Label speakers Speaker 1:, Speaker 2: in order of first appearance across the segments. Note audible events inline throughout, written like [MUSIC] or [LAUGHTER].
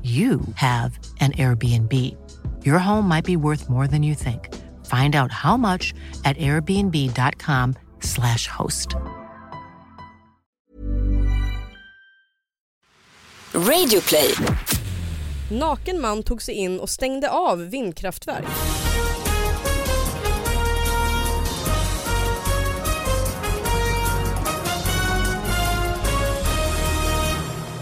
Speaker 1: you have an Airbnb. Your home might be worth more than you think. Find out how much at airbnb.com/slash host.
Speaker 2: Radioplay.
Speaker 3: Naken man tog sig in och stängde av vindkraftverk.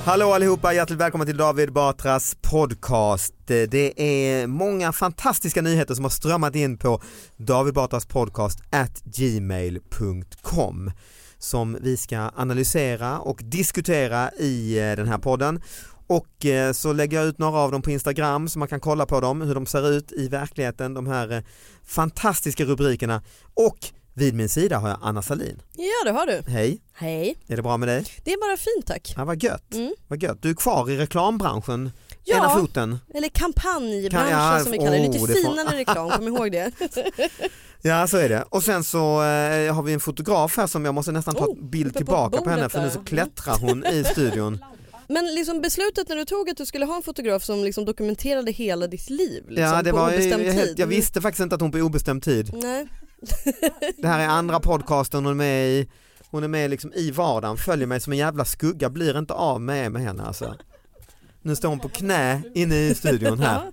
Speaker 4: Hallå allihopa, hjärtligt välkomna till David Batras podcast. Det är många fantastiska nyheter som har strömmat in på David Batras podcast at gmail.com som vi ska analysera och diskutera i eh, den här podden. Och eh, så lägger jag ut några av dem på Instagram så man kan kolla på dem, hur de ser ut i verkligheten, de här eh, fantastiska rubrikerna. Och vid min sida har jag Anna Salin.
Speaker 3: Ja det har du.
Speaker 4: Hej,
Speaker 3: Hej.
Speaker 4: är det bra med dig?
Speaker 3: Det är bara fint tack.
Speaker 4: Ja, vad gött.
Speaker 3: Mm.
Speaker 4: Vad gött. Du är kvar i reklambranschen,
Speaker 3: Ja.
Speaker 4: ena foten.
Speaker 3: Eller kampanjbranschen
Speaker 4: Kan- ja,
Speaker 3: som vi kallar det.
Speaker 4: oh,
Speaker 3: Lite
Speaker 4: det får-
Speaker 3: finare reklam, kom ihåg
Speaker 4: [LAUGHS]
Speaker 3: det.
Speaker 4: Ja så är det. Och sen så eh, har vi en fotograf här som jag måste nästan ta
Speaker 3: Oh,
Speaker 4: bild
Speaker 3: uppe på
Speaker 4: tillbaka på, henne
Speaker 3: bordet
Speaker 4: för nu
Speaker 3: där.
Speaker 4: så klättrar hon i
Speaker 3: [LAUGHS]
Speaker 4: studion.
Speaker 3: Men liksom beslutet när du tog att du skulle ha en fotograf som liksom dokumenterade hela ditt liv liksom,
Speaker 4: Ja, det
Speaker 3: på
Speaker 4: var, jag,
Speaker 3: obestämd tid.
Speaker 4: jag, jag visste faktiskt inte att hon på obestämd tid.
Speaker 3: Nej.
Speaker 4: Det här är andra podcasten hon är med i. Hon är med liksom i vardagen, följer mig som en jävla skugga, blir inte av med, med henne alltså. Nu står hon på knä inne i studion här.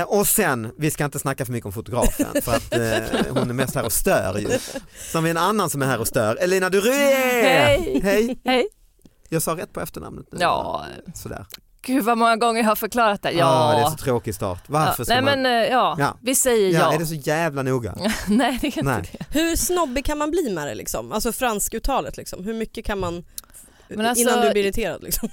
Speaker 4: Eh, och sen, vi ska inte snacka för mycket om fotografen för att eh, hon är mest här och stör ju. Sen har vi en annan som är här och stör, Elina Duré!
Speaker 5: Hej!
Speaker 4: Hej!
Speaker 5: Hej!
Speaker 4: Jag sa rätt på efternamnet nu.
Speaker 5: Ja,
Speaker 4: Sådär.
Speaker 5: gud vad många gånger jag har förklarat det. Ja,
Speaker 4: Ah, det är så tråkig start. Varför
Speaker 5: ja.
Speaker 4: ska
Speaker 5: Nej
Speaker 4: man...
Speaker 5: men eh, ja,
Speaker 4: Ja.
Speaker 5: vi säger
Speaker 4: ja.
Speaker 5: ja.
Speaker 4: Är det så jävla noga?
Speaker 5: [LAUGHS] Nej det är inte
Speaker 4: Nej.
Speaker 5: det.
Speaker 3: [LAUGHS] Hur snobbig kan man bli med det liksom? Alltså franskuttalet liksom. Hur mycket kan man
Speaker 5: Men alltså-
Speaker 3: innan du blir irriterad liksom?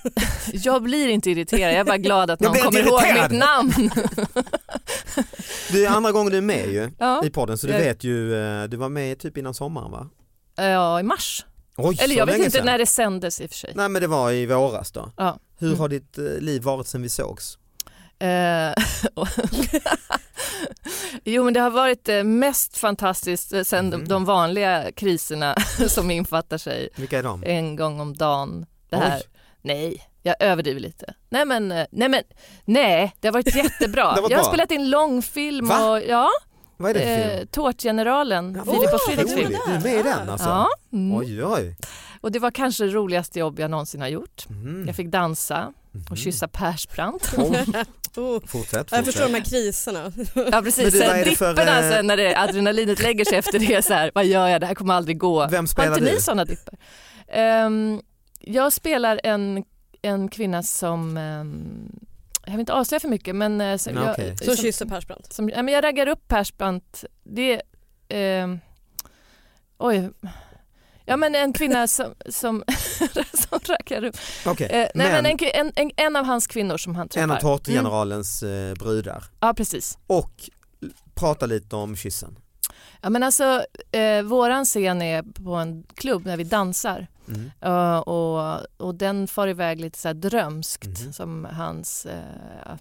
Speaker 5: Jag blir inte irriterad, jag är bara glad att
Speaker 4: Jag
Speaker 5: någon
Speaker 4: blir
Speaker 5: kommer
Speaker 4: inte irriterad.
Speaker 5: ihåg mitt
Speaker 4: [LAUGHS]
Speaker 5: namn.
Speaker 4: Du är andra gången du är med ju
Speaker 5: Ja.
Speaker 4: i podden så du
Speaker 5: Jag-
Speaker 4: vet ju, eh, du var med typ innan sommaren va?
Speaker 5: Eh, ja, i mars.
Speaker 4: Oj,
Speaker 5: Eller
Speaker 4: så
Speaker 5: jag vet
Speaker 4: länge
Speaker 5: inte
Speaker 4: sedan.
Speaker 5: när det sändes i och för sig.
Speaker 4: Nej men det var i våras då.
Speaker 5: Ja.
Speaker 4: Hur
Speaker 5: Mm.
Speaker 4: har ditt eh, liv varit sedan vi sågs?
Speaker 5: Eh, [LAUGHS] jo men det har varit eh, mest fantastiskt eh, sen de,
Speaker 4: Mhm.
Speaker 5: de vanliga kriserna [LAUGHS] som infattar sig
Speaker 4: Vilka är de?
Speaker 5: en gång om dagen. Det här.
Speaker 4: Oj.
Speaker 5: Nej, jag överdriver lite. Nej men, eh, nej men, nej, det har varit jättebra.
Speaker 4: [LAUGHS] Det har varit
Speaker 5: jag har
Speaker 4: bra.
Speaker 5: spelat in långfilm
Speaker 4: Va?
Speaker 5: och ja,
Speaker 4: Vad är det för film?
Speaker 5: eh, Tårtgeneralen,
Speaker 4: Ja,
Speaker 5: Filip
Speaker 4: vad
Speaker 5: och Fredriks
Speaker 4: roligt.
Speaker 5: film.
Speaker 4: Du är med i den alltså?
Speaker 5: Ja, mm.
Speaker 4: Oj oj.
Speaker 5: och det var kanske det roligaste jobb jag någonsin har gjort.
Speaker 4: Mm.
Speaker 5: Jag fick dansa och kyssa Persbrandt.
Speaker 4: [LAUGHS] Oj,
Speaker 3: [LAUGHS] Oh.
Speaker 4: Mm. Fortsätt,
Speaker 3: Jag förstår
Speaker 4: fortsätt.
Speaker 3: de här kriserna.
Speaker 5: Ja
Speaker 4: Men
Speaker 5: precis,
Speaker 4: du, vad
Speaker 5: sen
Speaker 4: är det för,
Speaker 5: dipperna
Speaker 4: eh,
Speaker 5: sen när det, adrenalinet lägger sig efter det så här, vad gör jag, det här kommer aldrig gå.
Speaker 4: Vem
Speaker 5: Har
Speaker 4: spelar
Speaker 5: inte ni
Speaker 4: du?
Speaker 5: sådana dippar? Ehm, jag spelar en, en kvinna som, ehm, jag vill inte avslöja för mycket men eh, som,
Speaker 4: Ja,
Speaker 5: jag,
Speaker 4: okej.
Speaker 3: Så
Speaker 5: som,
Speaker 3: kysser Persbrandt.
Speaker 5: som, ja, men jag raggar upp Persbrandt. Det är, ehm, oj, ja men en kvinna [LAUGHS] som, som, som raggar upp.
Speaker 4: Okej,
Speaker 5: Eh, nej, men,
Speaker 4: men
Speaker 5: en, Mm. en, en, en av hans kvinnor som han träffar.
Speaker 4: en av tårtgeneralens eh, brudar.
Speaker 5: Ja precis.
Speaker 4: Och l- prata lite om kyssen.
Speaker 5: Ja, men alltså, eh, våran scen är på en klubb när vi dansar
Speaker 4: Mm.
Speaker 5: Eh, och, och den far iväg lite så här drömskt
Speaker 4: Mhm.
Speaker 5: som hans, eh,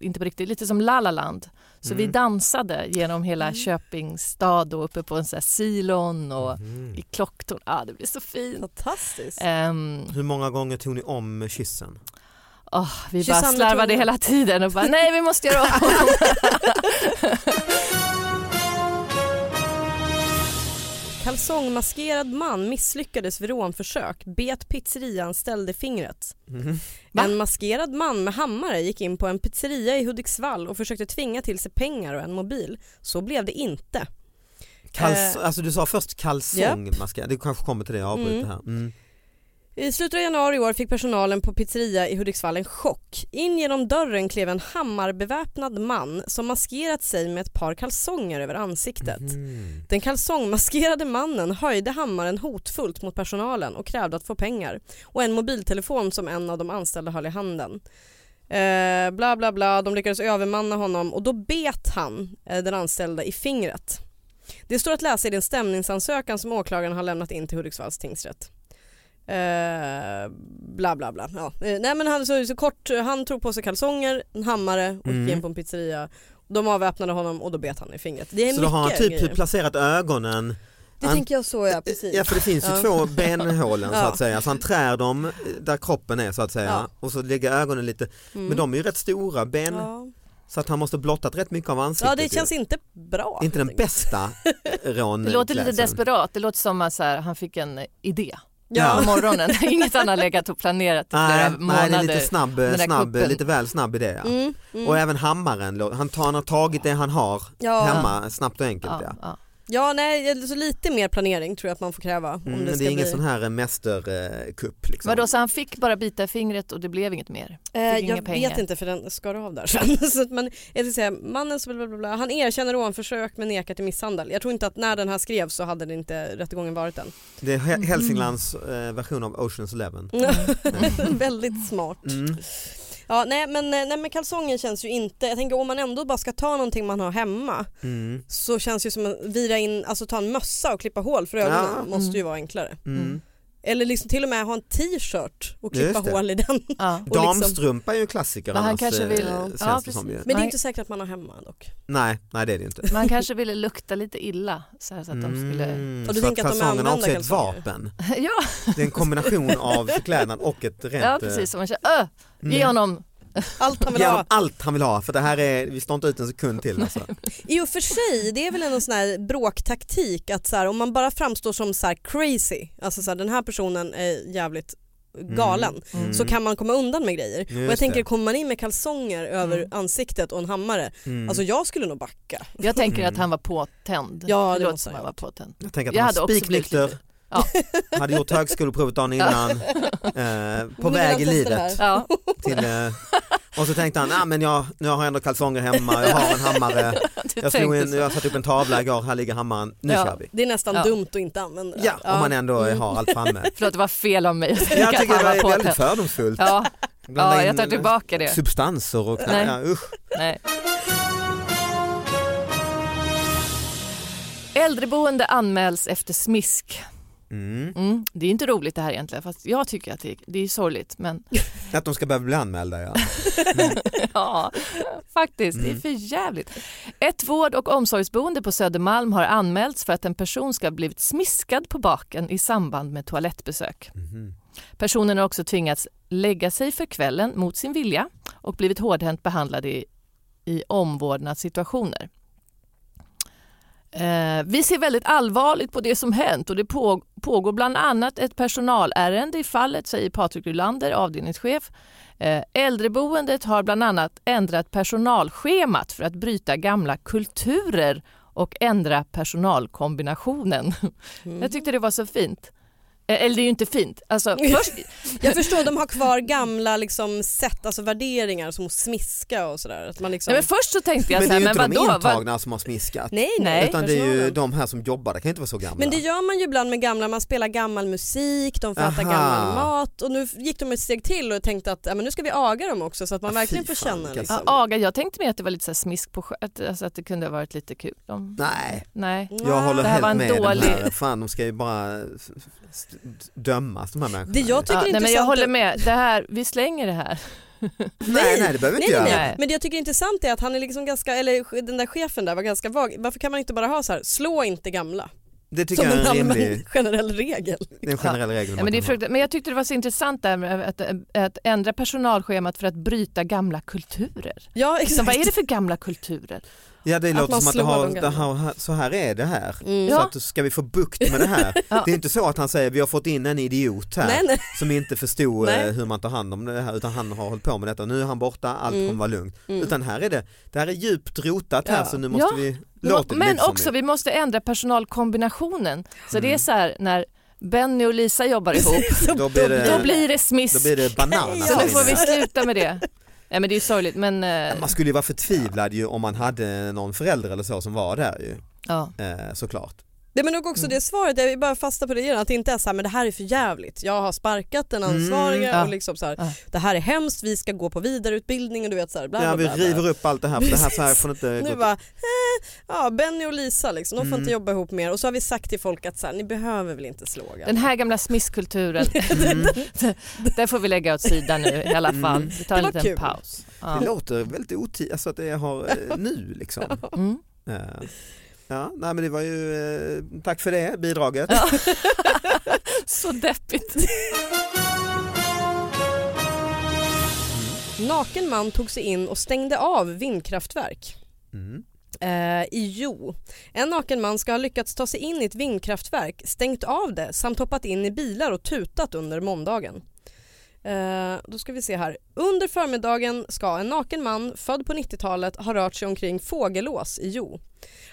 Speaker 5: inte på riktigt, lite som La La Land. Så vi
Speaker 4: Mm.
Speaker 5: dansade genom hela
Speaker 3: Mm.
Speaker 5: Köpings stad och uppe på en så här silon och
Speaker 4: Mhm.
Speaker 5: i klocktorn. Ah, det blir så fint.
Speaker 3: Fantastiskt.
Speaker 5: Ehm,
Speaker 4: Hur många gånger tog ni om kyssen?
Speaker 5: åh, vi
Speaker 3: Kyssa
Speaker 5: bara
Speaker 3: med
Speaker 5: slarvade
Speaker 3: tungan.
Speaker 5: hela tiden och bara nej vi måste göra om.
Speaker 3: Kalsongmaskerad man misslyckades vid rånförsök, bet pizzeriaanställd i fingret.
Speaker 4: Mhm.
Speaker 5: Va?
Speaker 3: En maskerad man med hammare gick in på en pizzeria i Hudiksvall och försökte tvinga till sig pengar och en mobil. Så blev det inte.
Speaker 4: Kals-
Speaker 3: Eh.
Speaker 4: alltså du sa först kalsongmaskerad, det kanske kommer till det, jag avbryter här. Mm.
Speaker 3: I slutet av januari i år fick personalen på pizzeria i Hudiksvall en chock. In genom dörren klev en hammarbeväpnad man som maskerat sig med ett par kalsonger över ansiktet.
Speaker 4: Mhm.
Speaker 3: Den kalsongmaskerade mannen höjde hammaren hotfullt mot personalen och krävde att få pengar och en mobiltelefon som en av de anställda höll i handen. Eh, bla bla bla, de lyckades övermanna honom och då bet han eh, den anställda i fingret. Det står att läsa i den stämningsansökan som åklagaren har lämnat in till Hudiksvalls tingsrätt. Eh, bla bla bla. Ja. Eh, nej men han, så, så kort, han tog på sig kalsonger, en hammare och
Speaker 4: Mm.
Speaker 3: gick in på en pizzeria. De avväpnade honom och då bet han i fingret. Det är
Speaker 4: Så då har han
Speaker 3: mycket
Speaker 4: typ
Speaker 3: grejer.
Speaker 4: placerat ögonen
Speaker 3: Det
Speaker 4: An-
Speaker 3: tänker jag så ja, precis.
Speaker 4: Ja för det finns ju
Speaker 3: Ja.
Speaker 4: två benhålen så
Speaker 3: Ja.
Speaker 4: att säga, så han trär dem där kroppen är så att säga
Speaker 3: Ja.
Speaker 4: och så lägger ögonen lite,
Speaker 3: Mm.
Speaker 4: men de är ju rätt stora ben
Speaker 3: ja.
Speaker 4: så att han måste blottat rätt mycket av ansiktet.
Speaker 3: ja, det känns
Speaker 4: ju.
Speaker 3: inte bra.
Speaker 4: inte den
Speaker 3: helt enkelt. [LAUGHS]
Speaker 4: bästa rån.
Speaker 5: Det låter lite desperat, det låter som att så här, han fick en idé
Speaker 4: Ja.
Speaker 5: på morgonen. [LAUGHS] Inget han har legat och planerat i flera
Speaker 4: Nej, nej,
Speaker 5: månader.
Speaker 4: det är lite snabb,
Speaker 5: den där
Speaker 4: snabb
Speaker 5: kuppen.
Speaker 4: lite väl snabb idé. Ja.
Speaker 3: Mm, mm.
Speaker 4: Och även hammaren, lå- han, tar, han har tagit det han har
Speaker 3: ja.
Speaker 4: hemma snabbt och enkelt. Ja.
Speaker 5: ja, ja.
Speaker 3: ja, nej, så lite mer planering tror jag att man får kräva. Om
Speaker 4: Mm,
Speaker 3: det,
Speaker 4: det,
Speaker 3: ska
Speaker 4: är ingen
Speaker 3: bli...
Speaker 4: sån här mästerkupp. Liksom.
Speaker 5: Vadå, så han fick bara bita i fingret och det blev inget mer?
Speaker 3: Eh,
Speaker 5: Fick inga
Speaker 3: jag
Speaker 5: pengar.
Speaker 3: vet inte för den skar av där sen. [LAUGHS] så att man, jag ska säga, mannen så bla bla bla, bla, han erkänner rånförsök men nekar till misshandel. Jag tror inte att när den här skrevs så hade det inte rättegången varit än.
Speaker 4: Det är Hä- Hälsinglands eh, version av Oceans Eleven.
Speaker 3: [LAUGHS] Väldigt smart.
Speaker 4: Mm.
Speaker 3: Ja, nej, men, eh, nej men kalsongen känns ju inte, jag tänker om man ändå bara ska ta någonting man har hemma
Speaker 4: Mm.
Speaker 3: så känns det ju som att vira in, alltså ta en mössa och klippa hål för ögonen
Speaker 4: Ja.
Speaker 3: måste ju vara enklare.
Speaker 4: Mm.
Speaker 3: Eller liksom till och med ha en t-shirt och klippa
Speaker 4: Just det.
Speaker 3: hål i
Speaker 4: [LAUGHS]
Speaker 3: den.
Speaker 5: Ja.
Speaker 3: Och liksom-
Speaker 4: Damstrumpa är ju en klassiker
Speaker 5: Men han
Speaker 4: annars,
Speaker 5: kanske
Speaker 4: eh,
Speaker 5: vill-
Speaker 3: Ja.
Speaker 4: känns
Speaker 5: Ja,
Speaker 4: det som ju.
Speaker 5: precis.
Speaker 3: Men det är
Speaker 5: Nej.
Speaker 3: inte säkert att man har hemma dock.
Speaker 4: Nej, nej det är det ju inte.
Speaker 5: Man kanske ville lukta lite illa så, här, så att de skulle... [LAUGHS]
Speaker 4: Mm,
Speaker 3: Och du
Speaker 4: så
Speaker 3: tänker att de är
Speaker 4: kalsongerna också är ett
Speaker 3: använda kalsonger?
Speaker 4: vapen.
Speaker 5: Ja,
Speaker 4: Det är en kombination av förklädnad och ett rent... eh, mm.
Speaker 5: ja precis. Så man känner, öh, ge honom.
Speaker 3: Allt han vill
Speaker 4: Ge
Speaker 3: ha.
Speaker 4: honom allt han vill ha för det här är, vi står inte ut en sekund till alltså.
Speaker 3: I och för sig, det är väl en sån här bråktaktik att så här, om man bara framstår som så här crazy, alltså så här, den här personen är jävligt galen,
Speaker 4: Mm.
Speaker 3: så kan man komma undan med grejer. och jag
Speaker 4: Just
Speaker 3: tänker
Speaker 4: det.
Speaker 3: kommer man in med kalsonger över ansiktet och en hammare,
Speaker 4: Mm.
Speaker 3: alltså jag skulle nog backa.
Speaker 5: Jag tänker att han var påtänd.
Speaker 3: Ja, det
Speaker 5: det låter
Speaker 3: måste
Speaker 5: som
Speaker 3: han
Speaker 5: han var påtänd.
Speaker 4: jag tänker att
Speaker 5: jag
Speaker 4: han
Speaker 5: hade
Speaker 4: var
Speaker 5: också blivit
Speaker 4: spiknykter, hade gjort högskoleprovet dagen innan, eh,
Speaker 3: Nu
Speaker 4: på
Speaker 3: vill
Speaker 4: väg
Speaker 3: han
Speaker 4: i
Speaker 3: testa det
Speaker 4: livet.
Speaker 3: här.
Speaker 5: [LAUGHS] Ja.
Speaker 4: Till, eh, och så tänkte han, ah, men jag, nu har jag ändå kalsonger hemma, jag har en
Speaker 5: [LAUGHS]
Speaker 4: hammare,
Speaker 5: Du
Speaker 4: jag, slog
Speaker 5: tänkte
Speaker 4: in,
Speaker 5: så.
Speaker 4: jag satte upp en tavla igår, här ligger hammaren, nu
Speaker 5: Ja. Mm.
Speaker 4: kör vi.
Speaker 3: [LAUGHS] Det är nästan
Speaker 5: Ja.
Speaker 3: dumt att inte använda det.
Speaker 4: Ja, om man ändå eh, har allt
Speaker 5: [LAUGHS]
Speaker 4: framme.
Speaker 5: Förlåt, det var fel av mig.
Speaker 4: Jag tycker det
Speaker 5: han
Speaker 4: var
Speaker 5: påtänd.
Speaker 4: väldigt fördomsfullt.
Speaker 5: Ja,
Speaker 4: Blanda
Speaker 5: ja, jag
Speaker 4: in,
Speaker 5: tar
Speaker 4: eh,
Speaker 5: tillbaka det.
Speaker 4: Substanser och
Speaker 5: Nej.
Speaker 4: ja, usch.
Speaker 5: Nej. Äldreboende anmäls efter smisk.
Speaker 4: Mm.
Speaker 5: Mm. Det är inte roligt det här egentligen, fast jag tycker att det, det är sorgligt. Men
Speaker 4: Att de ska behöva bli anmälda ja.
Speaker 5: [LAUGHS] ja, faktiskt, det är för jävligt. Ett vård och omsorgsboende på Södermalm har anmälts för att en person ska ha blivit smiskad på baken i samband med toalettbesök.
Speaker 4: Mhm.
Speaker 5: Personen har också tvingats lägga sig för kvällen mot sin vilja och blivit hårdhänt behandlad i, i omvårdnadssituationer. Eh, vi ser väldigt allvarligt på det som hänt och det på, pågår bland annat ett personalärende i fallet, säger Patrik Rylander, avdelningschef. Eh, äldreboendet har bland annat ändrat personalschemat för att bryta gamla kulturer och ändra personalkombinationen. [LAUGHS] Jag tyckte det var så fint. Eh, eller det är ju inte fint. Alltså, först,
Speaker 3: Jag förstår de har kvar gamla liksom, sätt, alltså värderingar som att smiska och sådär. Att man liksom...
Speaker 5: nej, men först så tänkte jag
Speaker 4: Men
Speaker 5: så
Speaker 4: det är
Speaker 5: här,
Speaker 4: ju
Speaker 5: men
Speaker 4: inte de
Speaker 5: vadå? Vad-
Speaker 4: intagna som har smiskat.
Speaker 3: Nej,
Speaker 5: Nej,
Speaker 4: Utan det är ju
Speaker 3: personalen.
Speaker 4: de här som jobbar, det kan ju inte vara så gamla.
Speaker 3: Men det gör man ju ibland med gamla, man spelar gammal musik, de får äta
Speaker 4: Aha.
Speaker 3: gammal mat och nu gick de ett steg till och tänkte att ja, men nu ska vi aga dem också så att man
Speaker 4: Ah,
Speaker 3: verkligen får
Speaker 4: fy fan,
Speaker 3: känna.
Speaker 4: vilka
Speaker 3: Liksom.
Speaker 5: Ja, aga, jag tänkte mer att det var lite så här smisk på sjö- att, alltså att det kunde ha varit lite kul. De,
Speaker 4: Nej,
Speaker 5: nej.
Speaker 4: jag håller
Speaker 5: Mm. Det här
Speaker 4: helt
Speaker 5: var en
Speaker 4: med den
Speaker 5: dålig-
Speaker 4: här. Fan, de ska ju bara s- s- dömas de här människorna.
Speaker 3: Det jag tycker
Speaker 5: Ja,
Speaker 3: är
Speaker 5: nej, men jag
Speaker 3: intressant-
Speaker 5: håller med, det här, vi slänger det här.
Speaker 4: Nej, nej det behöver vi
Speaker 3: Nej,
Speaker 4: inte
Speaker 3: nej,
Speaker 4: göra.
Speaker 3: nej. Men det jag tycker är intressant är att han är liksom ganska, eller den där chefen där var ganska vag. Varför kan man inte bara ha så här, slå inte gamla?
Speaker 4: Det tycker
Speaker 3: Som
Speaker 4: jag
Speaker 3: en
Speaker 4: är en
Speaker 3: allmän
Speaker 4: rimlig,
Speaker 3: [LAUGHS] generell regel.
Speaker 4: det är en generell regel.
Speaker 5: Ja,
Speaker 4: man
Speaker 5: men, det är
Speaker 4: kan ha.
Speaker 5: frukt- men jag tyckte det var så intressant där med att, att ändra personalschemat för att bryta gamla kulturer.
Speaker 3: Ja
Speaker 5: Så
Speaker 3: exakt.
Speaker 5: vad är det för gamla kulturer?
Speaker 4: Ja det
Speaker 3: Att
Speaker 4: låter
Speaker 3: man
Speaker 4: som att det
Speaker 3: slår
Speaker 4: har,
Speaker 3: de
Speaker 4: det
Speaker 3: gamla.
Speaker 4: har, så här är det här.
Speaker 3: Mm.
Speaker 4: Så
Speaker 5: Ja.
Speaker 4: att, ska vi få bukt med
Speaker 3: [LAUGHS]
Speaker 4: det här?
Speaker 5: Ja.
Speaker 4: Det är inte så att han säger vi har fått in en idiot här
Speaker 3: Nej, nej.
Speaker 4: som inte förstod
Speaker 3: Nej.
Speaker 4: eh, hur man tar hand om det här utan han har hållit på med detta nu är han borta, allt
Speaker 3: Mm.
Speaker 4: kommer vara lugnt.
Speaker 3: Mm.
Speaker 4: Utan här är det, det här är djupt rotat här
Speaker 3: Ja.
Speaker 4: så nu måste
Speaker 5: Ja.
Speaker 4: vi låta det
Speaker 5: men
Speaker 4: lite som
Speaker 5: också,
Speaker 4: det. Mm.
Speaker 5: vi måste ändra personalkombinationen. Så det är så här när Benny och Lisa jobbar
Speaker 4: [LAUGHS]
Speaker 5: ihop,
Speaker 4: Då blir det,
Speaker 5: då blir det
Speaker 4: då
Speaker 3: [LAUGHS]
Speaker 5: smisk.
Speaker 4: blir det bananas.
Speaker 5: Så nu får vi sluta med det. Nej men det är sorgligt men eh,
Speaker 4: Man skulle ju vara förtvivlad ju om man hade någon förälder eller så som var där ju
Speaker 5: ja.
Speaker 4: eh, såklart.
Speaker 3: Nej, men och också
Speaker 4: Mm.
Speaker 3: det svaret, jag vill bara fasta på det igen, att det inte är så här, men det här är för jävligt. Jag har sparkat den ansvariga
Speaker 4: Ah.
Speaker 5: Mm, ja.
Speaker 3: och liksom så här,
Speaker 5: Ja.
Speaker 3: det här är hemskt, vi ska gå på vidareutbildning och du vet så här, bla,
Speaker 4: Ja,
Speaker 3: bla,
Speaker 4: vi
Speaker 3: bla, bla.
Speaker 4: river upp allt det här för det här, så här får inte
Speaker 3: [LAUGHS]
Speaker 4: gå
Speaker 3: Nu
Speaker 4: till.
Speaker 3: bara, eh, ja, Benny och Lisa liksom, de får
Speaker 4: Mm.
Speaker 3: inte jobba ihop mer och så har vi sagt till folk att så här, ni behöver väl inte slå gamla.
Speaker 5: Den här gamla smiskkulturen,
Speaker 3: [LAUGHS] Mm.
Speaker 5: [LAUGHS] den får vi lägga åt sidan nu i alla fall. Vi tar
Speaker 3: Det
Speaker 5: en
Speaker 3: var
Speaker 5: liten
Speaker 3: kul.
Speaker 5: paus.
Speaker 4: Det
Speaker 5: Ja.
Speaker 4: låter väldigt otid, alltså att det har
Speaker 5: [LAUGHS]
Speaker 4: eh, nu liksom.
Speaker 3: [LAUGHS]
Speaker 5: Mm.
Speaker 4: Eh, Ja, nej men det var ju, eh, tack för det bidraget. [LAUGHS]
Speaker 5: Ja. Så deppigt.
Speaker 3: Naken man tog sig in och stängde av vindkraftverk.
Speaker 4: Mm.
Speaker 3: Eh, I Jo. En naken man ska ha lyckats ta sig in i ett vindkraftverk, stängt av det samt hoppat in i bilar och tutat under måndagen. Eh, då ska vi se här. Under förmiddagen ska en naken man född på 90-talet ha rört sig omkring Fågelås i Jo.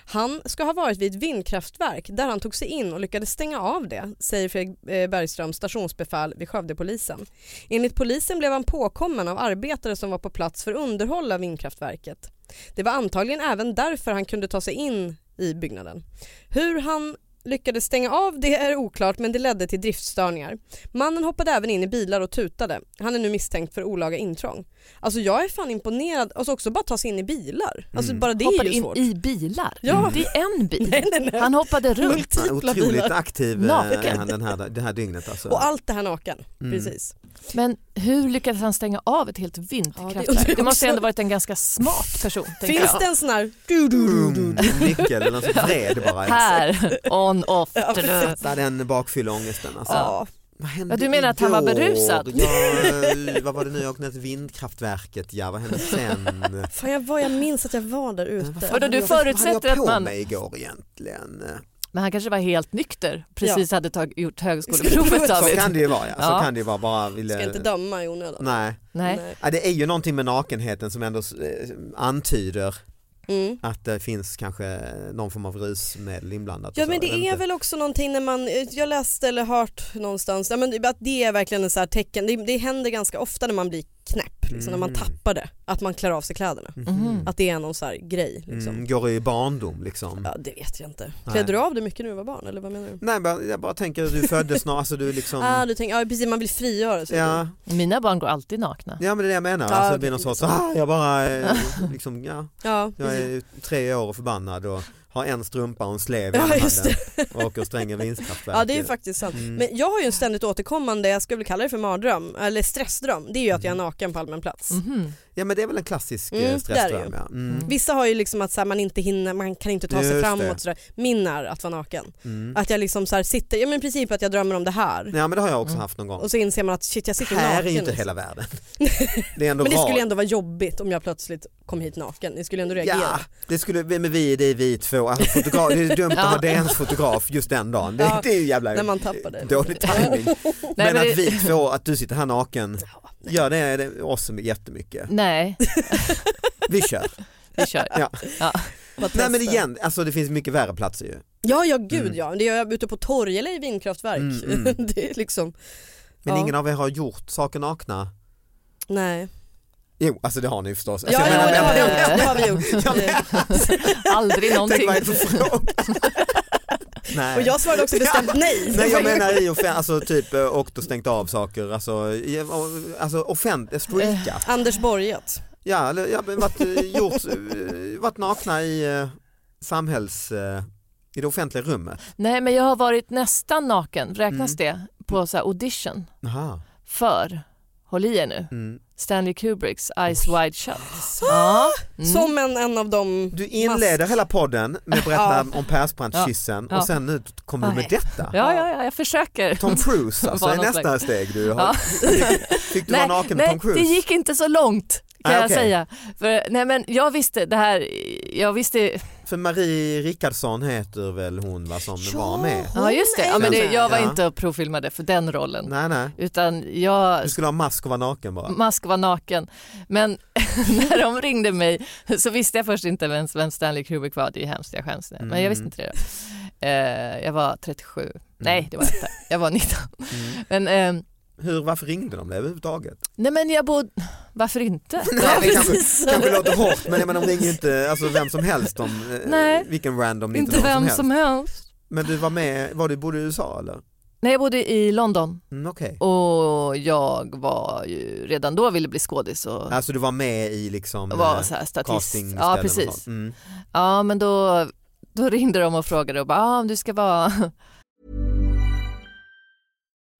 Speaker 3: Han ska ha varit vid ett vindkraftverk där han tog sig in och lyckades stänga av det, säger Fredrik eh, Bergström, stationsbefäl vid Skövdepolisen. Enligt polisen blev han påkommen av arbetare som var på plats för underhåll av vindkraftverket. Det var antagligen även därför han kunde ta sig in i byggnaden. Hur han lyckades stänga av det är oklart men det ledde till driftstörningar. Mannen hoppade även in i bilar och tutade. Han är nu misstänkt för olaga intrång. Alltså jag är fan imponerad. Alltså också bara ta sig in i bilar. Alltså
Speaker 4: Mm.
Speaker 3: bara det är
Speaker 5: Hoppade
Speaker 3: ju
Speaker 5: in
Speaker 3: svårt.
Speaker 5: i bilar.
Speaker 3: Ja.
Speaker 5: Det är en bil.
Speaker 3: [LAUGHS] Nej, nej, nej.
Speaker 5: Han hoppade runt.
Speaker 4: Han är
Speaker 3: Multipla
Speaker 4: Otroligt
Speaker 3: bilar.
Speaker 4: aktiv eh,
Speaker 5: Naken.
Speaker 4: är han den här, det här dygnet alltså.
Speaker 3: Och allt det här naken.
Speaker 4: Mm.
Speaker 3: Precis.
Speaker 5: Men hur lyckades han stänga av ett helt
Speaker 3: Ja, det-
Speaker 5: vindkraftverk?
Speaker 3: det
Speaker 5: det,
Speaker 3: också.
Speaker 5: måste ändå varit en ganska smart person. tänker
Speaker 3: Finns
Speaker 5: jag.
Speaker 3: det en sån här... Du, du, du, du.
Speaker 4: Mm, nyckel eller något som vred bara.
Speaker 5: [LAUGHS] Här, on, off.
Speaker 3: Ja, precis.
Speaker 4: Där den bakfylleångesten alltså.
Speaker 3: Ja.
Speaker 4: Vad hände
Speaker 5: Ja, du menar att han var
Speaker 4: igår?
Speaker 5: berusad?
Speaker 4: Ja, eh, vad var det nu jag åkte ner till vindkraftverket ja, vad hände sen?
Speaker 3: Fan jag, var, jag minns att jag var där
Speaker 4: Eh, vad
Speaker 3: ute.
Speaker 4: fan
Speaker 5: Vadå,
Speaker 4: hade
Speaker 5: du
Speaker 4: jag- vad hade jag
Speaker 5: förutsätter att
Speaker 4: på
Speaker 5: man-
Speaker 4: mig igår egentligen?
Speaker 5: Men han kanske var helt nykter, precis hade tag- gjort högskoleprovet.
Speaker 3: Provet.
Speaker 5: av
Speaker 4: Så
Speaker 5: det.
Speaker 4: kan det ju vara ja. Så
Speaker 5: Ja.
Speaker 4: kan det ju vara. Bara ville...
Speaker 3: Ska inte döma i onödan.
Speaker 4: Nej.
Speaker 5: Nej.
Speaker 4: Ja, det är ju någonting med nakenheten som ändå eh, antyder
Speaker 3: Mm.
Speaker 4: att det finns kanske någon form av rusmedel inblandat. och
Speaker 3: Ja
Speaker 4: så,
Speaker 3: men
Speaker 4: jag
Speaker 3: det
Speaker 4: vet
Speaker 3: är
Speaker 4: inte.
Speaker 3: väl också någonting när man, jag läste eller hört någonstans, ja, men att det är verkligen en så här tecken, det, det händer ganska ofta när man blir knäpp, liksom, när man
Speaker 4: Mm.
Speaker 3: tappar det, att man klär av sig kläderna.
Speaker 5: Mhm.
Speaker 3: Att det är någon så här grej. Liksom.
Speaker 4: Mm, går i barndom liksom.
Speaker 3: Ja det vet jag inte.
Speaker 4: Nej.
Speaker 3: Klädde du av dig mycket när du var barn eller vad menar du?
Speaker 4: Nej men jag bara tänker att du föddes snart, alltså du är liksom
Speaker 3: Ah, du tänker, ja precis man vill frigöra sig.
Speaker 4: Ja,
Speaker 5: Mina barn går alltid nakna.
Speaker 4: ja men det är det jag menar,
Speaker 3: Ja,
Speaker 4: alltså, det blir
Speaker 3: det-
Speaker 4: någon sorts, ah, jag bara
Speaker 3: [LAUGHS]
Speaker 4: eh, liksom, ja,
Speaker 3: Ja,
Speaker 4: jag
Speaker 3: precis.
Speaker 4: är tre år och förbannad och har en strumpa och en slev i
Speaker 3: Ja,
Speaker 4: ena
Speaker 3: just
Speaker 4: handen och åker och stränger vinstkraftverk.
Speaker 3: ja det är ju faktiskt sant.
Speaker 4: Mm.
Speaker 3: Men jag har ju en ständigt återkommande, jag skulle kalla det för mardröm, eller stressdröm, det är ju att jag
Speaker 4: Mm.
Speaker 3: är naken på allmän plats.
Speaker 5: Mhm.
Speaker 4: Ja men det är väl en klassisk
Speaker 3: Mm,
Speaker 4: mm, stressdröm
Speaker 3: där
Speaker 4: ja. Mm,
Speaker 3: Vissa har ju liksom att så här, man inte hinner, man kan inte ta sig
Speaker 4: Just
Speaker 3: framåt
Speaker 4: det.
Speaker 3: sådär. Min är att vara naken.
Speaker 4: mm.
Speaker 3: Att jag liksom så här sitter, ja men i princip att jag drömmer om det här
Speaker 4: Ja men det har jag också haft någon gång.
Speaker 3: Mm. och så inser man att shit jag sitter
Speaker 4: Här
Speaker 3: naken.
Speaker 4: är ju inte
Speaker 3: liksom. [LAUGHS]
Speaker 4: hela världen. Det är ändå
Speaker 3: men det
Speaker 4: rad-
Speaker 3: skulle ändå vara jobbigt om jag plötsligt kom hit naken, ni skulle ändå reagera.
Speaker 4: Ja, det skulle, men vi, det är vi två, alltså, fotograf, det är
Speaker 3: [LAUGHS]
Speaker 4: dumt att ha
Speaker 5: Ja.
Speaker 4: det ens fotograf just den dagen. Det,
Speaker 3: Ja,
Speaker 4: det är ju jävla
Speaker 3: När man tappar det.
Speaker 4: dålig timing.
Speaker 5: men
Speaker 4: Men
Speaker 5: det-
Speaker 4: att vi två, att du sitter här naken, gör det, är det oss jättemycket.
Speaker 5: Nej,
Speaker 3: [LAUGHS]
Speaker 4: Vi kör.
Speaker 5: vi
Speaker 4: [LAUGHS]
Speaker 5: kör.
Speaker 4: Ja.
Speaker 3: Bara
Speaker 4: Nej men
Speaker 3: testa.
Speaker 4: igen, alltså det finns mycket värre platser ju.
Speaker 3: Ja, ja gud
Speaker 4: Mm.
Speaker 3: ja. Det gör jag ute på torg eller i vindkraftverk.
Speaker 4: Mm, mm.
Speaker 3: [LAUGHS] det är liksom,
Speaker 4: Men
Speaker 3: Ja.
Speaker 4: ingen av er har gjort saker nakna.
Speaker 3: nej.
Speaker 4: Jo, alltså det har ni förstås.
Speaker 3: Ja,
Speaker 4: Alltså,
Speaker 3: ja,
Speaker 4: jag menar-
Speaker 3: det,
Speaker 4: [LAUGHS]
Speaker 3: har vi
Speaker 4: jag
Speaker 3: gjort, det har vi gjort.
Speaker 4: Jag
Speaker 3: Det-
Speaker 5: Aldrig
Speaker 4: Tänk
Speaker 5: någonting.
Speaker 4: vad är det
Speaker 3: [LAUGHS]
Speaker 4: för fråga? Nej.
Speaker 3: Och jag svarade också
Speaker 4: [LAUGHS]
Speaker 3: bestämt nej.
Speaker 4: Nej jag menar i offent, alltså typ eh, åkt och stängt av saker, alltså, i- alltså offent, streakat.
Speaker 3: Anders Borget.
Speaker 4: Ja, eller ja, men varit, eh, gjort, eh, varit nakna i eh, samhälls... eh, I det offentliga rummet. Mm.
Speaker 5: Nej, men jag har varit nästan naken, räknas det? på så här audition
Speaker 4: Aha.
Speaker 5: för, håll i er nu,
Speaker 4: Mm.
Speaker 5: Stanley Kubricks Eyes Wide
Speaker 4: [GASPS]
Speaker 5: Shut.
Speaker 6: Mm.
Speaker 5: Mm.
Speaker 3: Som en, en av de
Speaker 4: Du inleder
Speaker 3: mask-
Speaker 4: hela podden med att
Speaker 5: [LAUGHS]
Speaker 4: berätta om Persbrandt-kyssen
Speaker 5: Ja.
Speaker 4: och sen nu kommer du med detta.
Speaker 5: Ja, ja, ja, jag försöker.
Speaker 4: Tom Cruise alltså
Speaker 5: Var
Speaker 4: är
Speaker 5: någon
Speaker 4: nästa
Speaker 5: slags-
Speaker 4: steg du har.
Speaker 5: [LAUGHS] Ja.
Speaker 4: Fick du vara naken med
Speaker 5: nej
Speaker 4: Tom Cruise?
Speaker 5: det gick inte så långt kan
Speaker 4: Nej,
Speaker 5: jag
Speaker 4: okej.
Speaker 5: säga. För, nej, men jag visste det här, jag visste,
Speaker 4: För Marie Rickardsson heter väl hon va, som var med?
Speaker 5: ja just det,
Speaker 3: är
Speaker 5: ja, men det
Speaker 3: med.
Speaker 5: jag var
Speaker 4: Ja.
Speaker 5: inte provfilmade för den rollen.
Speaker 4: Nej nej,
Speaker 5: Utan jag
Speaker 4: du skulle ha mask och vara naken bara.
Speaker 5: Musk var naken. Men [LAUGHS] när de ringde mig så visste jag först inte vem, vem Stanley Kubrick var. Det är ju hemskt, jag skäms nu. Men jag
Speaker 4: Mm.
Speaker 5: visste inte det. då. Eh, jag var 37. Nej, det var jag inte. Jag var 19. Men, eh,
Speaker 4: Mm. Hur, varför ringde de dig överhuvudtaget?
Speaker 5: nej men jag bodde... Varför inte?
Speaker 4: Nej, det kanske, [LAUGHS] kanske låter hårt men jag menar, de ringer ju inte alltså, vem som helst om eh,
Speaker 5: Nej.
Speaker 4: vilken random
Speaker 5: inte vem
Speaker 4: helst.
Speaker 5: som helst.
Speaker 4: Men du var med, var du, bodde du i USA eller?
Speaker 5: Nej, jag bodde i London
Speaker 4: Mm, Okej,
Speaker 5: och jag var ju redan då ville bli skådis och
Speaker 4: alltså du var med i liksom
Speaker 5: var
Speaker 4: eh,
Speaker 5: så här statist.
Speaker 4: castingställen
Speaker 5: Ja,
Speaker 4: och
Speaker 5: precis.
Speaker 4: sånt. Mm.
Speaker 5: Ja, men då, då ringde de och frågade och bara, ah, om du ska vara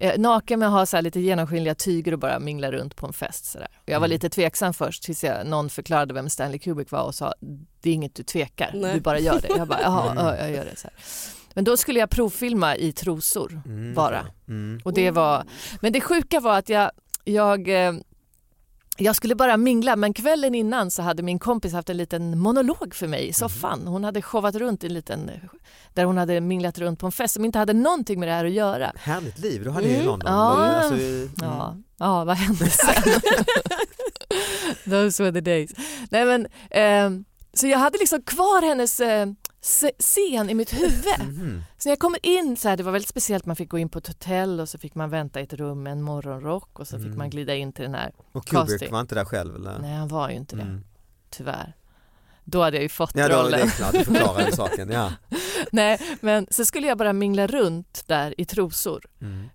Speaker 5: eh, naken men har så här lite genomskinliga tyger och bara minglar runt på en fest. Så där. Och jag var lite tveksam först tills jag, någon förklarade vem Stanley Kubrick var och sa det är inget du tvekar,
Speaker 3: Nej.
Speaker 5: du bara gör det. Jag bara, jaha, ja, jag gör det. Så här. Men då skulle jag provfilma i trosor
Speaker 4: Mm.
Speaker 5: bara. Och det var, men det sjuka var att jag, jag eh, jag skulle bara mingla men kvällen innan så hade min kompis haft en liten monolog för mig i soffan. Hon hade showat runt i en liten, där hon hade minglat runt på en fest som inte hade någonting med det här att göra.
Speaker 4: Härligt liv du hade i London.
Speaker 5: Ja.
Speaker 4: Var ju, Alltså, mm.
Speaker 5: Ja, ja vad hände sen? [LAUGHS] Those were the days. Nej, men, ehm, så jag hade liksom kvar hennes eh, se- scen i mitt huvud.
Speaker 4: Mm. Mhm.
Speaker 5: Så när jag kommer in, så här, det var väldigt speciellt, man fick gå in på ett hotell och så fick man vänta i ett rum med en morgonrock och så fick
Speaker 4: Mm.
Speaker 5: man glida in till den här.
Speaker 4: Och Kubrick
Speaker 5: Casting.
Speaker 4: var inte där själv eller?
Speaker 5: Nej, han var ju inte det,
Speaker 4: Mm.
Speaker 5: tyvärr. Då hade jag ju fått
Speaker 4: Ja, då, det
Speaker 5: rollen.
Speaker 4: är klart, du
Speaker 5: [LAUGHS]
Speaker 4: förklarade saken. Ja.
Speaker 5: Nej, men så skulle jag bara mingla runt där i trosor.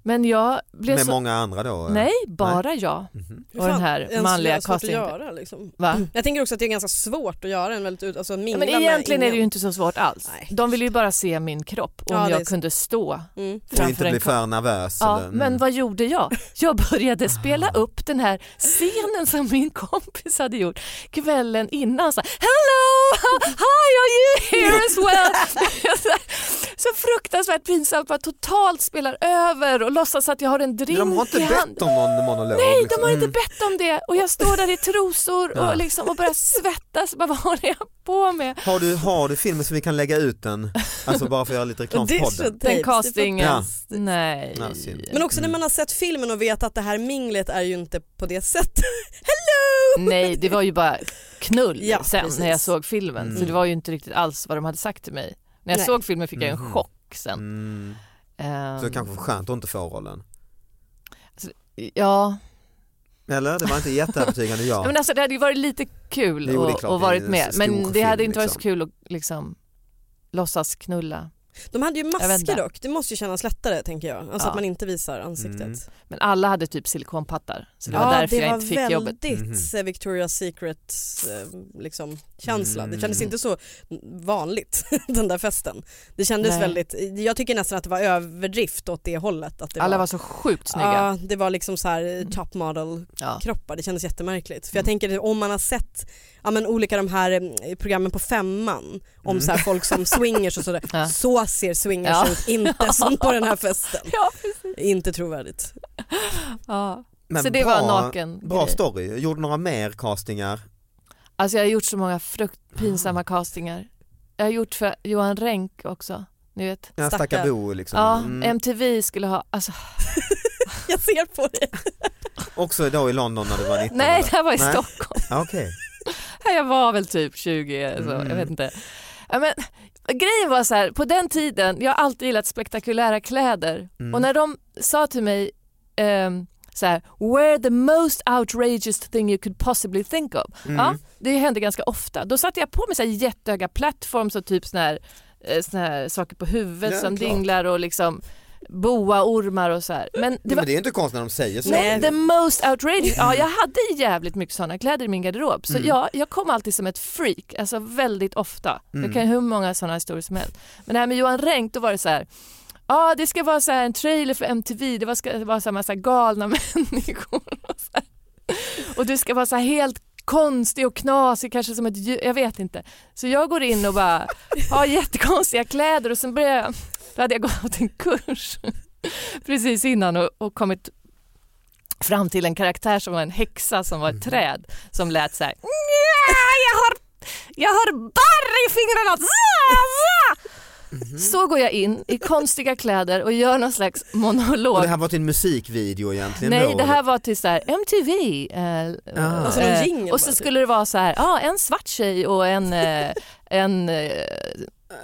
Speaker 5: Men jag blev
Speaker 4: Mm. Med
Speaker 5: så...
Speaker 4: många andra då? eh.
Speaker 5: Nej, bara jag.
Speaker 4: Mhm.
Speaker 5: Och den
Speaker 3: Fan,
Speaker 5: här
Speaker 3: ens
Speaker 5: manliga
Speaker 3: svårt att
Speaker 5: castingen.
Speaker 3: göra, liksom.
Speaker 5: Va?
Speaker 3: Jag tänker också att det är ganska svårt att göra en väldigt ut, alltså att
Speaker 5: Ja,
Speaker 3: mingla
Speaker 5: men egentligen
Speaker 3: med
Speaker 5: är det ju inte så svårt alls.
Speaker 3: Nej.
Speaker 5: De ville ju bara se min kropp och om
Speaker 3: Ja, det är
Speaker 5: jag
Speaker 3: så.
Speaker 5: kunde stå
Speaker 3: Mm.
Speaker 4: Och
Speaker 5: framför
Speaker 4: inte
Speaker 5: en
Speaker 4: bli
Speaker 5: kamera.
Speaker 4: för nervös?
Speaker 5: Ja,
Speaker 4: eller, mm.
Speaker 5: Men vad gjorde jag? Jag
Speaker 4: [LAUGHS]
Speaker 5: började spela upp den här scenen som min kompis hade gjort kvällen innan. Så här, Hello! Hi, are you here as well? [LAUGHS] så fruktansvärt pinsamt, bara totalt spelar över och låtsas att jag har en drink
Speaker 4: De har inte
Speaker 5: i hand.
Speaker 4: bett om någon monolog?
Speaker 5: Nej, de
Speaker 4: liksom.
Speaker 5: har inte
Speaker 4: Mm.
Speaker 5: bett om det och jag står där i trosor
Speaker 4: Ja.
Speaker 5: och, liksom, och börjar svettas. Bara, vad håller jag på med?
Speaker 4: Har du, har du filmen så vi kan lägga ut den? Alltså bara för att göra lite reklam för
Speaker 3: Det är typ- så
Speaker 4: podden.
Speaker 5: Den
Speaker 3: tapes,
Speaker 5: castingen.
Speaker 4: Ja.
Speaker 5: Nej.
Speaker 4: Ja, synd.
Speaker 5: Mm.
Speaker 3: Men också när man har sett filmen och vet att det här minglet är ju inte på det sättet. [LAUGHS] Hello!
Speaker 5: Nej, det var ju bara knull
Speaker 3: Ja,
Speaker 5: sen
Speaker 3: precis.
Speaker 5: när jag såg filmen.
Speaker 4: Mm.
Speaker 5: Så det var ju inte riktigt alls vad de hade sagt till mig. När jag
Speaker 3: Nej.
Speaker 5: såg filmen fick jag en chock sen.
Speaker 4: Mm.
Speaker 5: Ehm,
Speaker 4: Så det kanske var skönt att inte få rollen.
Speaker 5: ja.
Speaker 4: Eller? Det var inte jätteövertygande
Speaker 5: [LAUGHS]
Speaker 4: ja.
Speaker 5: men alltså det hade ju varit lite kul
Speaker 4: Jo, det är
Speaker 5: att
Speaker 4: klart,
Speaker 5: att
Speaker 4: det
Speaker 5: varit
Speaker 4: är en
Speaker 5: med.
Speaker 4: stor
Speaker 5: Men det hade
Speaker 4: film,
Speaker 5: inte varit så
Speaker 4: liksom.
Speaker 5: kul att liksom låtsas knulla.
Speaker 3: De hade ju
Speaker 5: vet inte.
Speaker 3: masker dock, det måste ju kännas lättare tänker jag. Alltså
Speaker 5: Ja.
Speaker 3: att man inte visar ansiktet.
Speaker 4: Mm.
Speaker 5: Men alla hade typ silikonpattar. Så det var därför jag inte fick jobbet.
Speaker 3: Det var väldigt
Speaker 4: Mhm.
Speaker 3: eh, Victoria's Secret eh, liksom, känsla. Det kändes
Speaker 4: Mm.
Speaker 3: inte så vanligt [LAUGHS] den där festen. Det kändes
Speaker 5: Nej.
Speaker 3: väldigt, jag tycker nästan att det var överdrift åt det hållet. Att det
Speaker 5: Alla var så sjukt snygga. Mm.
Speaker 3: Ja, det var liksom så här top model
Speaker 5: Ja.
Speaker 3: kroppar, det kändes jättemärkligt. För jag
Speaker 4: Mm.
Speaker 3: tänker om man har sett mm,
Speaker 4: Mm. [LAUGHS]
Speaker 3: ja, men olika de här eh, programmen på femman om så här folk som swingers och sådär,
Speaker 5: Ja.
Speaker 3: så så ser swingers
Speaker 5: Ja.
Speaker 3: ut, inte som på den här festen.
Speaker 5: Ja, precis.
Speaker 3: Inte trovärdigt.
Speaker 5: Ja.
Speaker 4: Mm. Men
Speaker 5: Så det var en naken
Speaker 4: Bra
Speaker 5: grej.
Speaker 4: story. Gjorde några mer castingar.
Speaker 5: Alltså jag har gjort så många frukt pinsamma castingar. Jag har gjort för Johan Renck också, ni vet.
Speaker 4: Ja,
Speaker 3: Stackare.
Speaker 4: stackar Bo liksom.
Speaker 5: Ja,
Speaker 4: Mm.
Speaker 5: MTV skulle ha, alltså
Speaker 3: Jag ser på dig.
Speaker 4: Också då i London när du var 19?
Speaker 5: nej
Speaker 4: eller?
Speaker 5: det här var i
Speaker 4: Nej.
Speaker 5: Stockholm.
Speaker 4: Ja, Okej.
Speaker 5: [LAUGHS] Jag var väl typ 20, så
Speaker 4: Mm.
Speaker 5: jag vet inte. Ja, men, grejen var så här, på den tiden, jag har alltid gillat spektakulära kläder
Speaker 4: Mm.
Speaker 5: och när de sa till mig ehm, så här, wear the most outrageous thing you could possibly think of.
Speaker 4: Mm.
Speaker 5: Ja, det hände ganska ofta. Då satte jag på mig så här jättehöga plattforms och typ såna här, eh, såna här saker på huvudet
Speaker 4: Ja,
Speaker 5: som
Speaker 4: klart.
Speaker 5: dinglar och liksom boaormar och så här. Men det
Speaker 4: Men
Speaker 5: var
Speaker 4: det är ju inte konstigt när de säger så.
Speaker 5: Nej, the most outrageous. Ja, jag hade jävligt mycket sådana kläder i min garderob. Så ja, jag kom alltid som ett freak, alltså väldigt ofta. Jag kan ju hur många sådana historier som helst. Men det här med Johan Renck, då var det så här. Ja, det ska vara så här en trailer för MTV, det var- ska vara så här massa galna [LAUGHS] människor. Och, så här. och du ska vara så här helt konstig och knasig, kanske som ett djur, jag vet inte. Så jag går in och bara har jättekonstiga kläder och sen börjar jag, då hade jag gått en kurs [LAUGHS] precis innan och, och kommit fram till en karaktär som var en häxa som var
Speaker 4: Mhm.
Speaker 5: ett träd som lät så här. "Nja, Jag har, jag har barr i fingrarna! Zah, zah."
Speaker 4: Mhm.
Speaker 5: Så går jag in i konstiga kläder och gör någon slags monolog.
Speaker 4: Och det här var till en musikvideo egentligen
Speaker 5: Nej,
Speaker 4: då?
Speaker 5: det här var till så här MTV. Eh,
Speaker 4: Ah.
Speaker 3: Och så någon
Speaker 5: eh,
Speaker 3: jingle
Speaker 5: och
Speaker 3: bara,
Speaker 5: så
Speaker 3: typ.
Speaker 5: skulle det vara så här, ja en svart tjej och en, eh, en eh,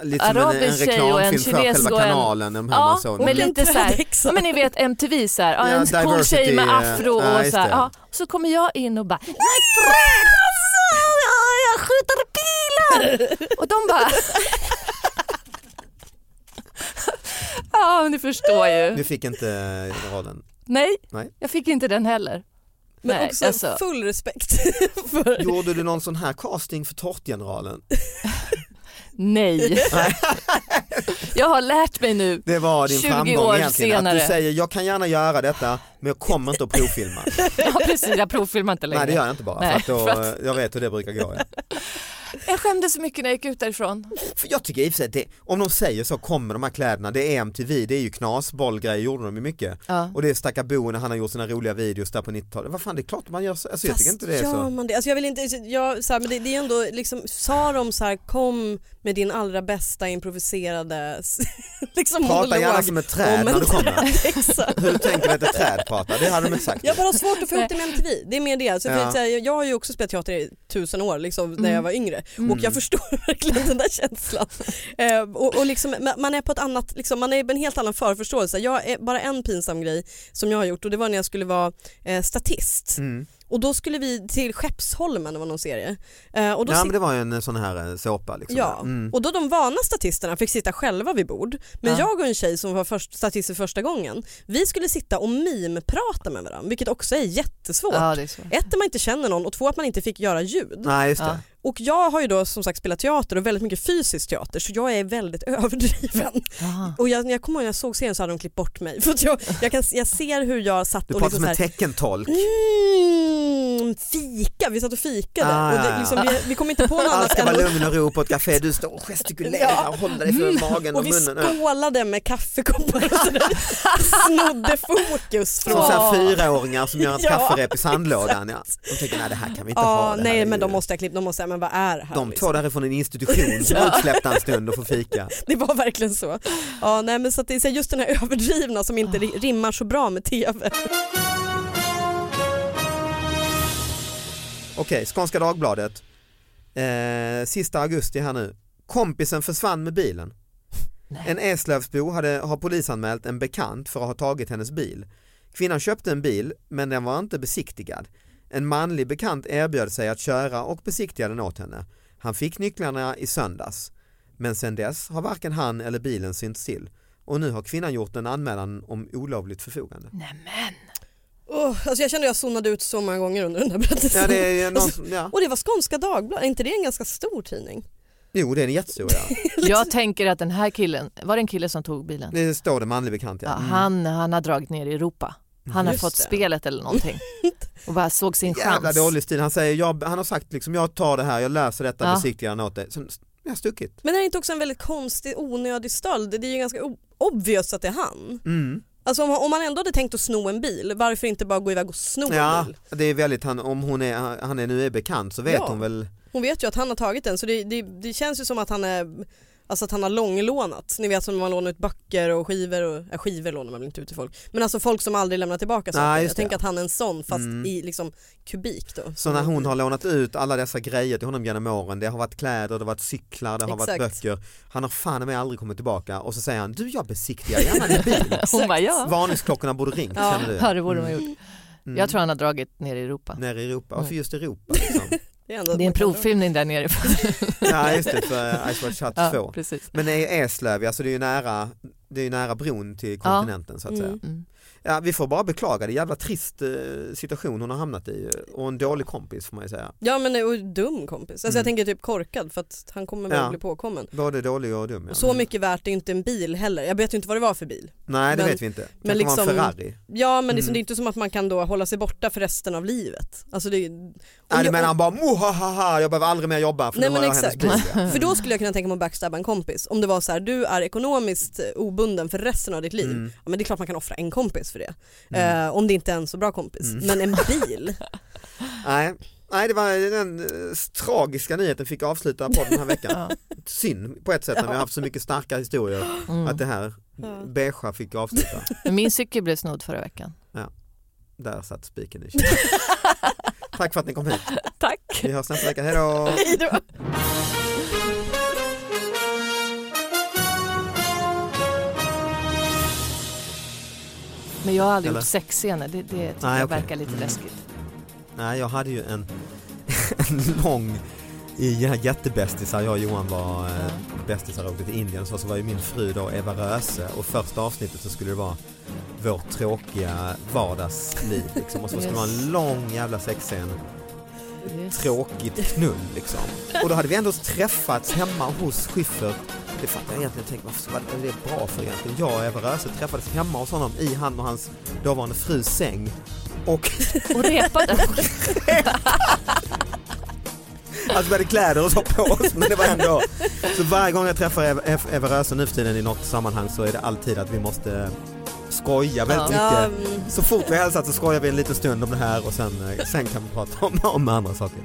Speaker 4: Lite som en, en
Speaker 5: arabisk tjej och en
Speaker 4: reklamfilm för
Speaker 5: kines
Speaker 4: själva
Speaker 5: och en-
Speaker 4: kanalen. De här
Speaker 5: Ja,
Speaker 4: man såg.
Speaker 5: men
Speaker 3: en
Speaker 5: lite så här,
Speaker 3: trädhäxa.
Speaker 5: ja, men ni vet MTV så här, ja,
Speaker 4: Ja,
Speaker 5: en cool tjej
Speaker 4: diversity,
Speaker 5: med
Speaker 4: eh,
Speaker 5: afro och
Speaker 4: ja, just
Speaker 5: så här,
Speaker 4: det.
Speaker 5: ja, så kommer jag in och bara jag är träd, alltså, jag, jag skjuter
Speaker 3: [LAUGHS]
Speaker 5: pilar och de bara Ja, men ni förstår ju.
Speaker 4: Du fick inte rollen.
Speaker 5: Nej,
Speaker 4: Nej.
Speaker 5: jag fick inte den heller.
Speaker 3: [LAUGHS] Men
Speaker 5: Nej,
Speaker 3: också
Speaker 5: alltså.
Speaker 3: full respekt [LAUGHS] för
Speaker 4: Gjorde du någon sån här casting för Tårtgeneralen?
Speaker 3: [LAUGHS]
Speaker 5: Nej. jag har lärt mig nu.
Speaker 4: Det var din
Speaker 5: [LAUGHS] 20
Speaker 4: framgång
Speaker 5: år
Speaker 4: egentligen. Att
Speaker 5: senare.
Speaker 4: du säger jag kan gärna göra detta men jag kommer inte att
Speaker 5: [LAUGHS]
Speaker 4: provfilma.
Speaker 5: Ja, precis, jag provfilmar inte längre.
Speaker 4: Nej det gör jag inte bara.
Speaker 5: Nej,
Speaker 4: för att då,
Speaker 5: för att-
Speaker 4: Jag vet hur det brukar gå. Ja.
Speaker 5: Jag skämdes så mycket när jag gick ut därifrån.
Speaker 4: För jag tycker i och för sig att det, om de säger så kommer de här kläderna, det är MTV, det är ju knas, bollgrejer gjorde de ju mycket.
Speaker 5: Ja.
Speaker 4: Och det är stackar Bo när han har gjort sina roliga videos där på 90-talet. Vad fan det är klart man gör så, alltså, jag tycker inte det är
Speaker 3: gör
Speaker 4: så.
Speaker 3: man det? Alltså jag vill inte, jag, så här, men det, det är ändå liksom, sa de så här kom med din allra bästa improviserade s- [LAUGHS] liksom
Speaker 4: Prata
Speaker 3: monolog
Speaker 4: gärna som ett träd
Speaker 3: om
Speaker 4: när
Speaker 3: en
Speaker 4: du kommer.
Speaker 3: träd. [LAUGHS] Exakt.
Speaker 4: Hur du tänker att ett träd pratar, det hade de inte sagt.
Speaker 3: Jag bara har svårt att
Speaker 4: [LAUGHS]
Speaker 3: få ihop det med MTV, det är mer det. Så för
Speaker 4: Ja. Mm.
Speaker 3: att säga, jag har ju också spelat teater i tusen år liksom, när jag var yngre och jag förstår [LAUGHS] verkligen den där känslan. Eh, och, och liksom, ma- man är på ett annat, liksom, man är på en helt annan förförståelse. Jag är bara en pinsam grej som jag har gjort och det var när jag skulle vara eh, statist.
Speaker 4: Mm.
Speaker 3: Och då skulle vi till Skeppsholmen, det var någon serie. Eh, och då
Speaker 4: Ja
Speaker 3: sit-
Speaker 4: men det var ju en eh, sån här eh, såpa liksom.
Speaker 3: Ja,
Speaker 4: Mm.
Speaker 3: och då de vana statisterna fick sitta själva vid bord. Men
Speaker 5: Ja.
Speaker 3: jag och en tjej som var först, statist för första gången, vi skulle sitta och mimprata med varandra, vilket också är jättesvårt.
Speaker 5: Ja, det är så.
Speaker 3: Ett, att man inte känner någon och två, att man inte fick göra ljud.
Speaker 4: Nej just det.
Speaker 3: Och jag har ju då som sagt spelat teater och väldigt mycket fysisk teater så jag är väldigt [LAUGHS] överdriven.
Speaker 4: [LAUGHS]
Speaker 3: Och jag, när jag kommer ihåg när jag såg serien så hade de klippt bort mig. För att jag, jag, kan, jag ser hur jag satt
Speaker 4: Du
Speaker 3: och
Speaker 4: pratar
Speaker 3: liksom
Speaker 4: som en
Speaker 3: så här,
Speaker 4: teckentolk.
Speaker 3: mm, fika, vi satt och fikade.
Speaker 4: Ah,
Speaker 3: och
Speaker 4: ja, ja.
Speaker 3: det, liksom, vi, vi kom inte
Speaker 4: [LAUGHS]
Speaker 3: på något
Speaker 4: Allt
Speaker 3: annat
Speaker 4: ska
Speaker 3: än
Speaker 4: vara
Speaker 3: att
Speaker 4: lugn och ro på ett café, du står och gestikulerar och håller dig för magen
Speaker 3: Mm.
Speaker 4: och
Speaker 3: Och vi
Speaker 4: munnen. Ja.
Speaker 3: skålade med kaffekoppar och
Speaker 4: [LAUGHS]
Speaker 3: sådär. Snodde fokus
Speaker 4: Som så
Speaker 3: från...
Speaker 4: här fyraåringar som gör
Speaker 3: [LAUGHS]
Speaker 4: ett
Speaker 3: Ja,
Speaker 4: kafferep i sandlådan. Ja. De tänker nej det här kan vi inte ha.
Speaker 3: Ja,
Speaker 4: det här är
Speaker 3: nej men
Speaker 4: ju-
Speaker 3: de måste jag klippa, de måste säga men vad är det här?
Speaker 4: De
Speaker 3: liksom?
Speaker 4: två därifrån en institution som är utsläppta en stund och får fika.
Speaker 3: [LAUGHS] Det var verkligen så. Ja, nej, men så att det är så här, just den här överdrivna som inte
Speaker 4: Ah.
Speaker 3: ri- rimmar så bra med TV.
Speaker 4: Okej, Skånska Dagbladet. Eh, sista augusti här nu. Kompisen försvann med bilen. En Eslövsbo hade, har polisanmält en bekant för att ha tagit hennes bil. Kvinnan köpte en bil men den var inte besiktigad. En manlig bekant erbjöd sig att köra och besiktiga den åt henne. Han fick nycklarna i söndags. Men sedan dess har varken han eller bilen synts till. Och nu har kvinnan gjort en anmälan om olovligt förfogande.
Speaker 3: Oh, alltså jag kände jag zonade ut så många gånger under den här berättelsen.
Speaker 4: Ja, det är ju
Speaker 5: [LAUGHS]
Speaker 4: någon,
Speaker 3: Alltså,
Speaker 4: som- ja.
Speaker 3: [LAUGHS] Och det var Skånska Dagbladet, är inte det en ganska stor tidning? [LAUGHS]
Speaker 4: Jo, det är en jättestor ja.
Speaker 5: Jag tänker att den här killen, var det en kille som tog bilen?
Speaker 4: Liksom. Det Mm. står det manlig bekant
Speaker 5: Ja,
Speaker 4: ja.
Speaker 5: han, han har dragit ner i Europa. Han har
Speaker 3: Just
Speaker 5: fått
Speaker 3: det.
Speaker 5: spelet eller någonting och bara såg sin
Speaker 4: [LAUGHS] Jävla
Speaker 5: chans.
Speaker 4: dålig stil. Han, säger, jag, han har sagt liksom jag tar det här, jag löser detta,
Speaker 5: Ja.
Speaker 4: besiktigar den åt dig. Sen Jag har stuckit.
Speaker 3: Men är det inte också en väldigt konstig onödig stöld? Det är ju ganska o- obvious att det är han.
Speaker 4: Mm.
Speaker 3: Alltså om, om man ändå hade tänkt att sno en bil, varför inte bara gå iväg och sno en
Speaker 4: Ja,
Speaker 3: bil?
Speaker 4: det är väldigt, han, om hon är, han är nu är bekant så vet
Speaker 3: Ja.
Speaker 4: hon väl.
Speaker 3: Hon vet ju att han har tagit den så det, det, det känns ju som att han är Alltså att han har långlånat. Ni vet som man lånar ut böcker och skivor. Och, äh, skivor lånar man väl inte ut till folk. Men alltså folk som aldrig lämnar tillbaka saker.
Speaker 4: Nej, just
Speaker 3: jag
Speaker 4: det.
Speaker 3: tänker att han är en sån fast
Speaker 4: Mm.
Speaker 3: i liksom kubik då.
Speaker 4: Så när
Speaker 5: Mm.
Speaker 4: hon har lånat ut alla dessa grejer till honom genom åren, det har varit kläder, det har varit cyklar, det har varit
Speaker 3: Exakt.
Speaker 4: böcker. Han har fan med aldrig kommit tillbaka och så säger han, du jag besiktigar gärna din bil.
Speaker 5: Hon bara [LAUGHS] ja.
Speaker 4: Varningsklockorna borde ringt
Speaker 3: Ja.
Speaker 4: känner du.
Speaker 5: Ja, det borde man gjort.
Speaker 4: Mm.
Speaker 5: Jag tror Mm. han har dragit ner i Europa.
Speaker 4: Nere i Europa, varför just Europa?
Speaker 5: [LAUGHS]
Speaker 4: Liksom?
Speaker 3: Det är, ändå
Speaker 5: Det är en provfilmning där nere.
Speaker 4: ja just det, för Ice Watch Shut 2.
Speaker 5: Ja, precis.
Speaker 4: Men är Eslöv, alltså det är ju nära, det är ju nära bron till kontinenten så att säga.
Speaker 3: Mm.
Speaker 5: Mm.
Speaker 4: Ja, vi får bara beklaga det, jävla trist eh, situation hon har hamnat i och en dålig kompis får man ju säga.
Speaker 3: Ja men det är ju dum kompis. Alltså
Speaker 4: Mm.
Speaker 3: jag tänker typ korkad för att han kommer väl
Speaker 4: Ja.
Speaker 3: bli påkommen.
Speaker 4: Både dålig och dum. Ja.
Speaker 3: Och så mycket värt är ju inte en bil heller. Jag vet ju inte vad det var för bil.
Speaker 4: Nej det
Speaker 3: men-
Speaker 4: vet vi inte.
Speaker 3: men
Speaker 4: Men liksom, en
Speaker 3: liksom-
Speaker 4: Ferrari.
Speaker 3: Ja men liksom, det är så-
Speaker 4: Mm.
Speaker 3: det är inte som att man kan då hålla sig borta för resten av livet. Alltså det är, om
Speaker 4: Nej du
Speaker 3: jag-
Speaker 4: menar han bara mohahaha, jag behöver aldrig mer jobba för
Speaker 3: Nej,
Speaker 4: nu
Speaker 3: men
Speaker 4: har jag hennes
Speaker 3: exakt.
Speaker 4: bil. Ja. Mm.
Speaker 3: För då skulle jag kunna tänka mig att backstabba en kompis. Om det var så här, du är ekonomiskt eh, obunden för resten av ditt liv.
Speaker 4: Mm.
Speaker 3: Ja, men det är klart man kan offra en kompis för det.
Speaker 4: Mm.
Speaker 3: Eh, om det inte är en så bra kompis.
Speaker 4: Mm.
Speaker 3: Men en bil.
Speaker 4: Nej. Nej det var den eh, tragiska nyheten fick avsluta podden den
Speaker 3: [LAUGHS]
Speaker 4: här veckan. Synd på ett sätt när vi har haft så mycket starka historier att det här
Speaker 3: Ja. Mm.
Speaker 4: beigea
Speaker 3: [LAUGHS]
Speaker 4: fick avsluta.
Speaker 5: Mm. Min cykel blev snodd förra veckan.
Speaker 4: Där satt spiken i kistan. Tack för att ni kom hit.
Speaker 5: Tack.
Speaker 4: Vi hörs nästa vecka, hej då!
Speaker 5: Men jag har aldrig
Speaker 4: Eller?
Speaker 5: gjort sexscener. Det, det tycker
Speaker 4: Nej, okej.
Speaker 5: jag
Speaker 4: Mm.
Speaker 5: verkar lite läskigt.
Speaker 4: Nej, jag hade ju en, [LAUGHS] en lång i ja, jättebästisar, jag och Johan var eh, bästisar och åkte till Indien så, så var ju min fru då Eva Röse och första avsnittet så skulle det vara vårt tråkiga vardagsliv liksom. och så skulle det vara en lång jävla sexscen,
Speaker 5: Just.
Speaker 4: tråkigt knull liksom. Och då hade vi ändå träffats hemma hos Schyffert det fattar jag egentligen, tänk, varför, vad är det bra för egentligen? Jag och Eva Röse träffades hemma hos honom i han och hans dåvarande frus säng och
Speaker 5: Och repade.
Speaker 4: Alltså vi hade kläder och så på oss men det var ändå. Så varje gång jag träffar Eva, Eva- Eva Röse nu för tiden i något sammanhang så är det alltid att vi måste skoja väldigt
Speaker 3: Ja,
Speaker 4: mycket.
Speaker 3: mm.
Speaker 4: Så fort vi har hälsat så skojar vi en liten stund om det här och sen, eh, sen kan vi prata om, om andra saker.